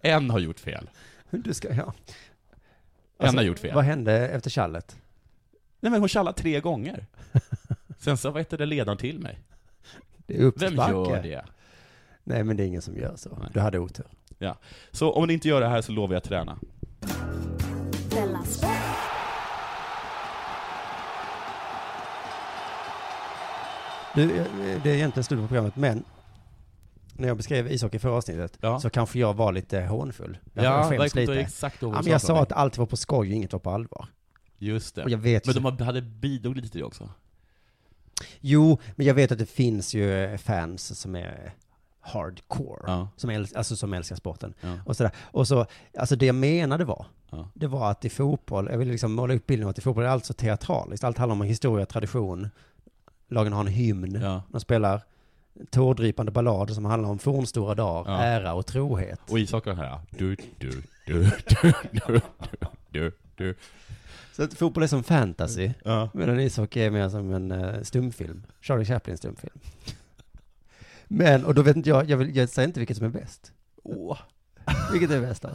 Speaker 3: En har gjort fel.
Speaker 2: Du ska, ja.
Speaker 3: En har gjort fel.
Speaker 2: Alltså, Vad hände efter tjallet?
Speaker 3: Nej men hon tjallade tre gånger. Sen så, vad hette det, ledaren till mig?
Speaker 2: Det är uppförsbacke.
Speaker 3: Vem gör det?
Speaker 2: Nej, men det är ingen som gör så. Du hade otur.
Speaker 3: Ja. Så om ni inte gör det här så lovar jag att träna.
Speaker 1: Della Sport.
Speaker 2: Du, eh, det är egentligen slut på programmet, men när jag beskrev ishockey i förra avsnittet så kanske jag var lite hånfull. Jag
Speaker 3: Ja, jag
Speaker 2: skäms
Speaker 3: kommer inte
Speaker 2: lite.
Speaker 3: ihåg exakt vad
Speaker 2: ja,
Speaker 3: du
Speaker 2: men
Speaker 3: sa
Speaker 2: jag
Speaker 3: till
Speaker 2: sa
Speaker 3: mig.
Speaker 2: att allt var på skoj och inget var på allvar.
Speaker 3: Just det.
Speaker 2: Och jag vet
Speaker 3: men
Speaker 2: ju-
Speaker 3: de hade bidrog lite till det också.
Speaker 2: Jo, men jag vet att det finns ju eh, fans som är hardcore, som, äls- alltså, som älskar sporten. Och, sådär. och så, alltså det jag menade var, det var att i fotboll, jag ville liksom måla upp bilden av att i fotboll är allt så teatraliskt, allt handlar om historia, tradition, lagen har en hymn, de spelar tårdrypande ballader som handlar om fornstora dagar,
Speaker 3: Ja.
Speaker 2: ära och trohet.
Speaker 3: Och Isak var här. Du, du, du, du, du, du, du.
Speaker 2: Så att fotboll är som fantasy, Mm. medan ishockey är mer som en eh, stumfilm. Charlie Chaplin stumfilm. Men, och då vet inte jag, jag, vill, jag säger inte vilket som är bäst.
Speaker 3: Åh.
Speaker 2: Vilket är bäst då?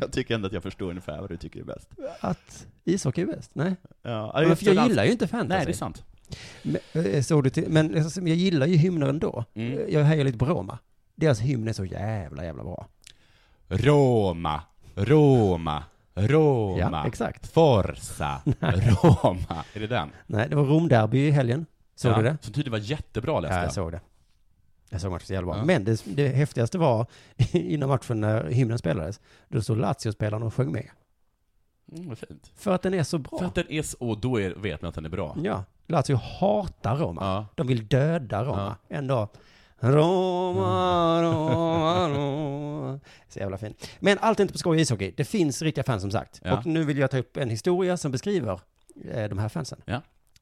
Speaker 3: Jag tycker ändå att jag förstår ungefär vad du tycker är bäst.
Speaker 2: Att ishockey är bäst? Nej.
Speaker 3: Ja,
Speaker 2: men för jag gillar ju inte fantasy.
Speaker 3: Nej, det är sant.
Speaker 2: Men, eh, såg du till, men alltså, jag gillar ju hymner ändå. Eh,
Speaker 3: Mm.
Speaker 2: Jag hejar lite på Roma. Deras hymn är så jävla, jävla bra.
Speaker 3: Roma, Roma, Roma.
Speaker 2: Ja, exakt.
Speaker 3: Forza, Roma. Är det den?
Speaker 2: Nej, det var Romderby i helgen. Såg
Speaker 3: ja.
Speaker 2: du det?
Speaker 3: Som tydligen var jättebra läste
Speaker 2: Ja, jag såg det. Jag såg matchen så jävla bra.
Speaker 3: Ja.
Speaker 2: Men det, det häftigaste var innan matchen när hymnen spelades, då stod Lazio-spelaren och sjöng med.
Speaker 3: Mm, vad fint.
Speaker 2: För att den är så bra.
Speaker 3: För att den är så, och då är, vet man att den är bra.
Speaker 2: Ja, Lazio hatar Roma. De vill döda Roma. En dag, Roma, Roma, Roma. Så jävla fint. Men allt är inte på skoj i ishockey. Det finns riktiga fans som sagt.
Speaker 3: Ja.
Speaker 2: Och nu vill jag ta upp en historia som beskriver eh, de här fansen.
Speaker 3: Ja.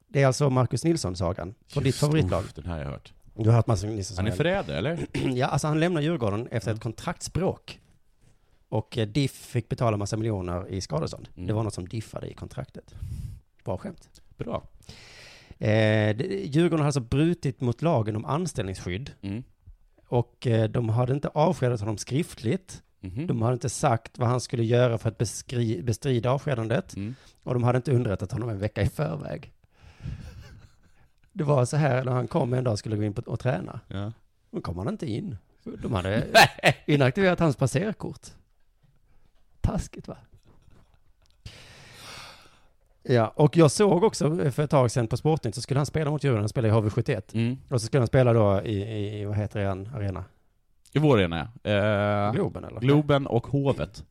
Speaker 2: Det är alltså Marcus Nilsson-sagan från ditt favoritlag.
Speaker 3: Uff, den här har jag hört.
Speaker 2: Du har hört Marcus Nilsson
Speaker 3: Han är förrädare, eller?
Speaker 2: ja, alltså han lämnar Djurgården efter ett kontraktsbråk. Och eh, Diff fick betala massa miljoner i skadestånd.
Speaker 3: Mm.
Speaker 2: Det var något som diffade i kontraktet. Bra skämt.
Speaker 3: Bra.
Speaker 2: Eh, det- Djurgården har alltså brutit mot lagen om anställningsskydd.
Speaker 3: Mm.
Speaker 2: Och eh, de hade inte avskedat honom skriftligt.
Speaker 3: Mhm.
Speaker 2: De hade inte sagt vad han skulle göra för att beskri- bestrida avskedandet. Och de hade inte underrättat honom en vecka i förväg. Det var så här när han kom en dag och skulle gå in på, och träna.
Speaker 3: Ja.
Speaker 2: Då kom han inte in. De hade inaktiverat hans passerkort. Taskigt va? Ja, och jag såg också för ett tag sedan på Sportnytt så skulle han spela mot Djurgården, han spelade i HV71.
Speaker 3: Mm.
Speaker 2: Och så skulle han spela då i, i, i vad heter det, en arena?
Speaker 3: I vår arena, ja. eh,
Speaker 2: Globen, eller? Mm.
Speaker 3: Globen och Hovet.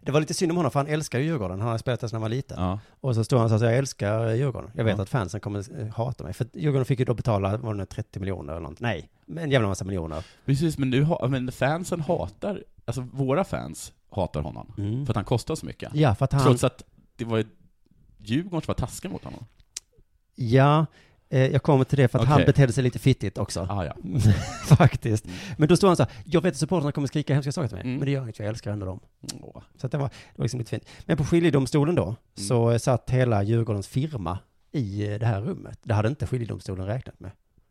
Speaker 2: Det var lite synd om honom, för han älskar ju Djurgården, han hade spelat där sedan han var liten.
Speaker 3: Ja.
Speaker 2: Och så stod han och sa så här, jag älskar Djurgården. Jag vet
Speaker 3: Ja.
Speaker 2: att fansen kommer eh, hata mig. För att Djurgården fick ju då betala, var det nu 30 miljoner eller något? Nej, men en jävla massa miljoner.
Speaker 3: Precis, men, nu, ha- men fansen hatar, alltså våra fans hatar honom. För att han kostar så mycket.
Speaker 2: Ja, för att Mm. han-
Speaker 3: Trots att det var ju Djurgården som var taskiga mot honom.
Speaker 2: Ja, Eh, Jag kommer till det för att han
Speaker 3: Okej.
Speaker 2: betedde sig lite fittigt också.
Speaker 3: Ah,
Speaker 2: Faktiskt. Men då stod han så här, jag vet att supportrarna kommer skrika hemska saker till
Speaker 3: Mm.
Speaker 2: mig, men det gör inget, jag älskar ändå dem. Så att det, var, det var liksom lite fint. Men på skiljedomstolen då, så eh, satt hela Djurgårdens firma i eh, det här rummet. Det hade inte skiljedomstolen räknat med.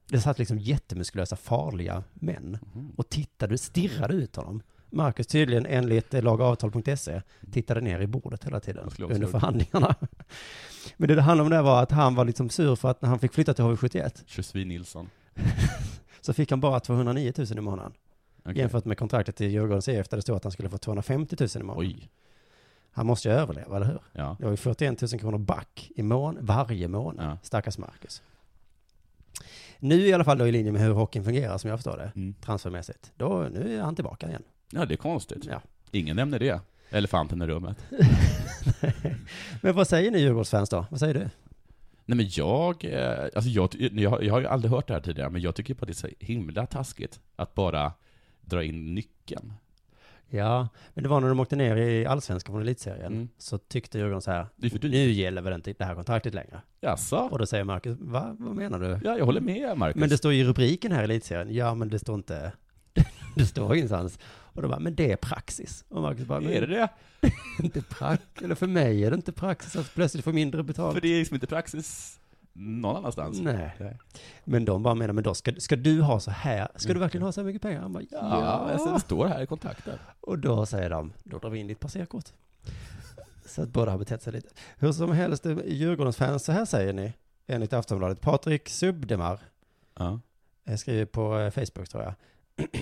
Speaker 2: Det satt liksom jättemuskulösa, farliga män och tittade, stirrade ut honom. Marcus tydligen enligt eh, lagavtal.se tittade ner i bordet hela tiden
Speaker 3: skulle också
Speaker 2: under
Speaker 3: ha gjort.
Speaker 2: förhandlingarna. Men det det handlade om där var att han var liksom sur för att när han fick flytta till HV71
Speaker 3: Josefin Nilsson.
Speaker 2: så fick han bara 209 000 i månaden.
Speaker 3: Okej.
Speaker 2: Jämfört med kontraktet till Djurgårdens IF där det stod att han skulle få 250 000 i månaden. Han måste ju överleva, eller hur?
Speaker 3: Ja.
Speaker 2: Det var ju 41 000 kronor back i mån, varje månad. Stackars Marcus. Nu i alla fall då i linje med hur hockeyn fungerar som jag förstår det,
Speaker 3: Mm.
Speaker 2: transfermässigt. Då, nu är han tillbaka igen.
Speaker 3: Ja, det är konstigt. Ingen nämner det. Elefanten i rummet.
Speaker 2: Men vad säger ni Djurgårdsfans då? Vad säger du?
Speaker 3: Nej men jag, eh, alltså jag, ty- jag, har- jag har ju aldrig hört det här tidigare, men jag tycker på att det är så himla taskigt att bara dra in nyckeln.
Speaker 2: Ja, men det var när de åkte ner i allsvenskan från elitserien,
Speaker 3: Mm.
Speaker 2: så tyckte Djurgården så här, nu gäller väl inte det här kontraktet längre.
Speaker 3: Jaså?
Speaker 2: Och då säger Marcus, Va? vad menar du?
Speaker 3: Ja, jag håller med Marcus.
Speaker 2: Men det står ju i rubriken här i elitserien, ja men det står inte, det står ingenstans. Och de bara, men det är praxis. Och Marcus bara, men
Speaker 3: Är det det?
Speaker 2: inte praxis, eller för mig är det inte praxis att plötsligt få mindre betalt.
Speaker 3: För det är liksom inte praxis någon annanstans.
Speaker 2: Nej. Men de bara menar, men då ska, ska du ha så här, ska du verkligen ha så här mycket pengar? Han bara, ja.
Speaker 3: Mm. Ja, jag ser det står här i kontakten.
Speaker 2: Och då säger de, då drar vi in ditt passerkort. Så att båda har betett sig lite. Hur som helst, eh, Djurgårdens fans, så här säger ni, enligt Aftonbladet. Patrik Subdemar eh, skriver på eh, Facebook tror jag.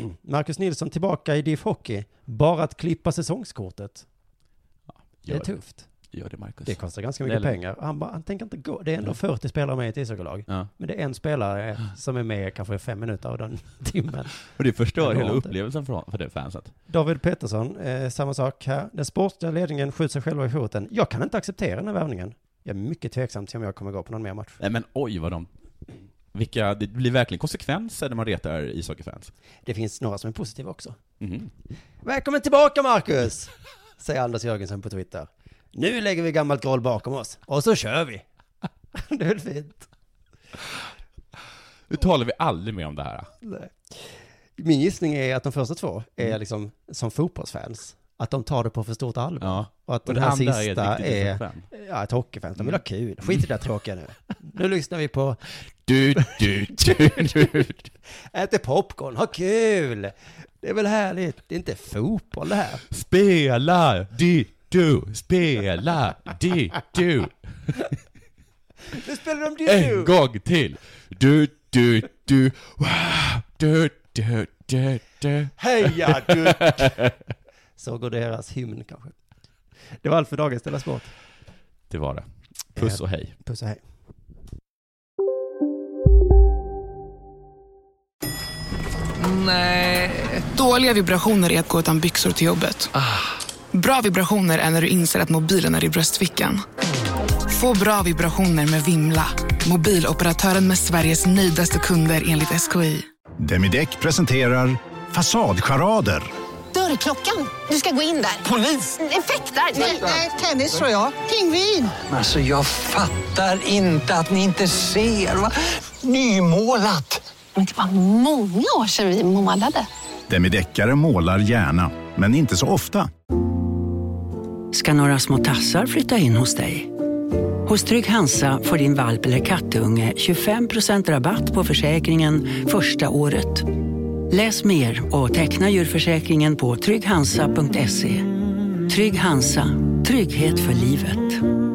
Speaker 2: Marcus Nilsson tillbaka i DIF Hockey, bara att klippa säsongskortet. det är
Speaker 3: Gör det.
Speaker 2: tufft.
Speaker 3: Gör det Marcus.
Speaker 2: Det kostar ganska mycket
Speaker 3: Eller-
Speaker 2: pengar. Han, bara, han tänker inte gå. Det är ändå
Speaker 3: Nej.
Speaker 2: 40 spelare med i ett ishockeylag.
Speaker 3: Ja.
Speaker 2: Men det är en spelare som är med kanske fem minuter av den timmen.
Speaker 3: Och det förstör
Speaker 2: Det går
Speaker 3: hela
Speaker 2: inte.
Speaker 3: upplevelsen för, för det fanset.
Speaker 2: David Pettersson, eh, samma sak här. Den sportliga ledningen skjuter sig själva i foten. Jag kan inte acceptera den här värvningen. Jag är mycket tveksam till om jag kommer gå på någon mer match.
Speaker 3: Nej men oj vad de... Vilka, det blir verkligen konsekvenser när man retar ishockeyfans.
Speaker 2: Det finns några som är positiva också. Välkommen tillbaka Marcus! Säger Anders Jörgensen på Twitter. Nu lägger vi gammalt groll bakom oss och så kör vi. Det är fint.
Speaker 3: Nu talar vi aldrig mer om det här.
Speaker 2: Nej. Min gissning är att de första två är
Speaker 3: Mm.
Speaker 2: liksom som fotbollsfans. Att de tar det på för stort allvar.
Speaker 3: Ja.
Speaker 2: Och att
Speaker 3: Och
Speaker 2: den
Speaker 3: det
Speaker 2: här
Speaker 3: andra är ett
Speaker 2: sista
Speaker 3: riktigt Mm.
Speaker 2: är,
Speaker 3: ishockeyfan.
Speaker 2: ja, ett hockeyfan. De vill ha kul. Skit i det där tråkiga nu. Nu lyssnar vi på
Speaker 3: Du, du, du, du.
Speaker 2: Äter popcorn, ha kul! Det är väl härligt? Det är inte fotboll det här.
Speaker 3: Spela, di, du, spela, di, du.
Speaker 2: Nu spelar de
Speaker 3: En
Speaker 2: dildo!
Speaker 3: gång till. Du, du, du, wow, du, du, du, du.
Speaker 2: Heja du! Så går deras hymn kanske. Det var allt för dagens Della Sport.
Speaker 3: Det var det. Puss och hej.
Speaker 2: Puss och hej.
Speaker 7: Nej. Dåliga vibrationer är att gå utan byxor till jobbet. Bra vibrationer är när du inser att mobilen är i bröstfickan. Få bra vibrationer med Vimla. Mobiloperatören med Sveriges nöjdaste kunder enligt SKI.
Speaker 8: Demideck presenterar Fasadcharader.
Speaker 9: Dörrklockan. Du ska gå in där. Polis? Effektar? Nej, tennis tror jag. Pingvin.
Speaker 10: Alltså jag fattar inte att ni inte ser. Va? Nymålat.
Speaker 9: Men det var många år sedan vi målade.
Speaker 8: Demideckare målar gärna, men inte så ofta.
Speaker 11: ska några små tassar flytta in hos dig. Hos Trygg Hansa får din valp eller kattunge 25% rabatt på försäkringen första året. Läs mer och teckna djurförsäkringen på trygghansa.se. Trygg Hansa, trygghet för livet.